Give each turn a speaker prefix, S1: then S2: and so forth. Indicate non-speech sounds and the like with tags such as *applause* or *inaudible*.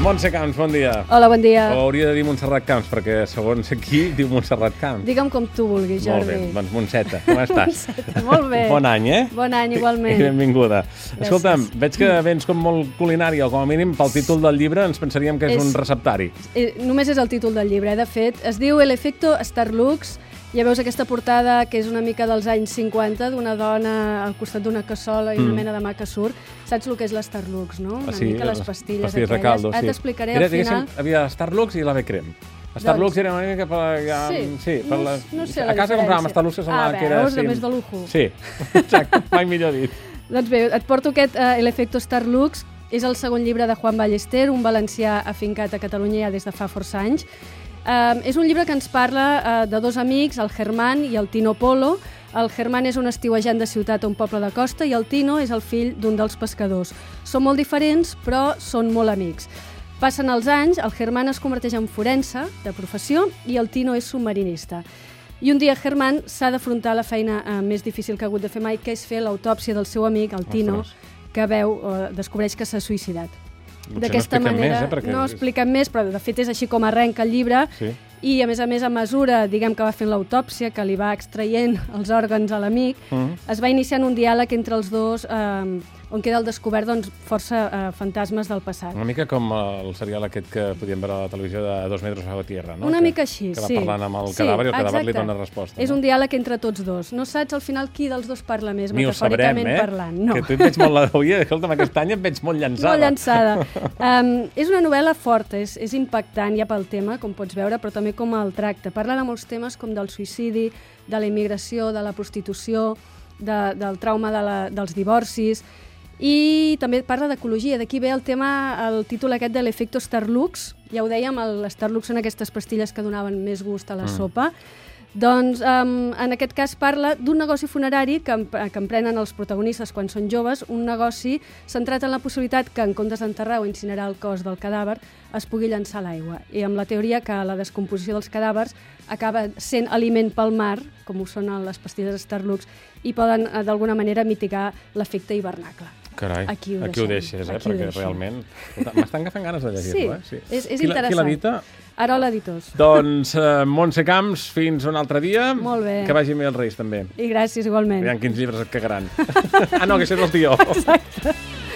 S1: Montse Camps, bon dia.
S2: Hola, bon dia.
S1: O hauria de dir Montserrat Camps, perquè segons aquí diu Montserrat Camps.
S2: Digue'm com tu vulguis,
S1: Molt
S2: Jordi.
S1: bé, doncs Montseta, com estàs?
S2: Montseta, molt bé.
S1: Bon any, eh?
S2: Bon any, igualment.
S1: I benvinguda. Gràcies. Escolta'm, veig que vens com molt culinària, o com a mínim pel títol del llibre ens pensaríem que és,
S2: És-
S1: un receptari.
S2: Eh, Només és el títol del llibre, eh? de fet. Es diu El efecto Starlux. Ja veus aquesta portada que és una mica dels anys 50, d'una dona al costat d'una cassola i una mm. mena de mà que surt. Saps el que és l'Starlux, no? Una mica les pastilles,
S1: Ah, pastilles de
S2: aquelles.
S1: caldo,
S2: Ara
S1: sí.
S2: t'explicaré
S1: Era,
S2: al final. Doncs
S1: diguéssim, Havia Starlux i la B-Crem. Starlux era una mica per... Ja,
S2: Sí,
S1: per
S2: no-
S1: la...
S2: no sé la
S1: A casa
S2: diferència.
S1: compràvem Starlux que semblava
S2: Ah,
S1: que era...
S2: veus, de
S1: sí,
S2: més de lujo.
S1: Sí, *laughs* exacte, mai millor dit.
S2: Doncs bé, et porto aquest uh, El efecto Starlux. És el segon llibre de Juan Ballester, un valencià afincat a Catalunya ja des de fa força anys. Uh, és un llibre que ens parla uh, de dos amics, el Germán i el Tino Polo. El Germán és un estiuejant de ciutat a un poble de costa i el Tino és el fill d'un dels pescadors. Són molt diferents, però són molt amics. Passen els anys, el Germán es converteix en forense, de professió, i el Tino és submarinista. I un dia Germán s'ha d'afrontar a la feina eh, més difícil que ha hagut de fer mai, que és fer l'autòpsia del seu amic, el Tino,
S1: Ostres.
S2: que veu, eh, descobreix que s'ha suïcidat.
S1: no expliquen més, eh, perquè-
S2: no expliquen més, però de fet és així com arrenca el llibre.
S1: Sí.
S2: I, a més a més, a mesura, diguem que va fent l'autòpsia, que li va extraient *laughs* els òrgans a l'amic,
S1: Mhm.
S2: es va iniciant un diàleg entre els dos eh, on queda al descobert doncs, força eh, fantasmes del passat.
S1: Una mica com el serial aquest que podíem veure a la televisió de dos metres a la tierra, no?
S2: Una
S1: que,
S2: mica així,
S1: que va
S2: sí.
S1: parlant amb el
S2: Sí,
S1: cadàver i el cadàver li
S2: exacte.
S1: dona resposta.
S2: És un diàleg entre tots dos. No saps al final qui dels dos parla més,
S1: Ni ho
S2: metafòricament
S1: sabrem, eh?
S2: parlant. No.
S1: Que tu et veig molt la... Ui, escolta'm, aquest any et veig molt llançada.
S2: Molt llançada. Um, és una novel·la forta, és, és impactant ja pel tema, com pots veure, però també com el tracta. Parla de molts temes com del suïcidi, de la immigració, de la prostitució, de, del trauma de la, dels divorcis, i també parla d'ecologia, d'aquí ve el tema, el títol aquest de l'efecte Starlux, ja ho dèiem, el- l'Starlux són aquestes pastilles que donaven més gust a la mm. sopa, doncs, um, en aquest cas parla d'un negoci funerari que, em- que emprenen els protagonistes quan són joves, un negoci centrat en la possibilitat que, en comptes d'enterrar o incinerar el cos del cadàver, es pugui llançar a l'aigua. I amb la teoria que la descomposició dels cadàvers acaba sent aliment pel mar, com ho són les pastilles Starlux, i poden, eh, d'alguna manera, mitigar l'efecte hivernacle.
S1: Carai,
S2: Aquí ho
S1: aquí ho
S2: deixem.
S1: deixes, eh?
S2: Aquí ho
S1: perquè
S2: deixem.
S1: realment... Escolta, M'estan agafant ganes de llegir-lo,
S2: Sí,
S1: eh?
S2: és- és
S1: Qui la- Qui
S2: interessant.
S1: l'edita?
S2: Arola Editors.
S1: Doncs eh, Montse Camps, fins un altre dia.
S2: Molt bé.
S1: Que vagi bé els Reis, també.
S2: I gràcies,
S1: *laughs*
S2: igualment.
S1: Aviam quins llibres et cagaran. ah, no, que això és el tió. Exacte.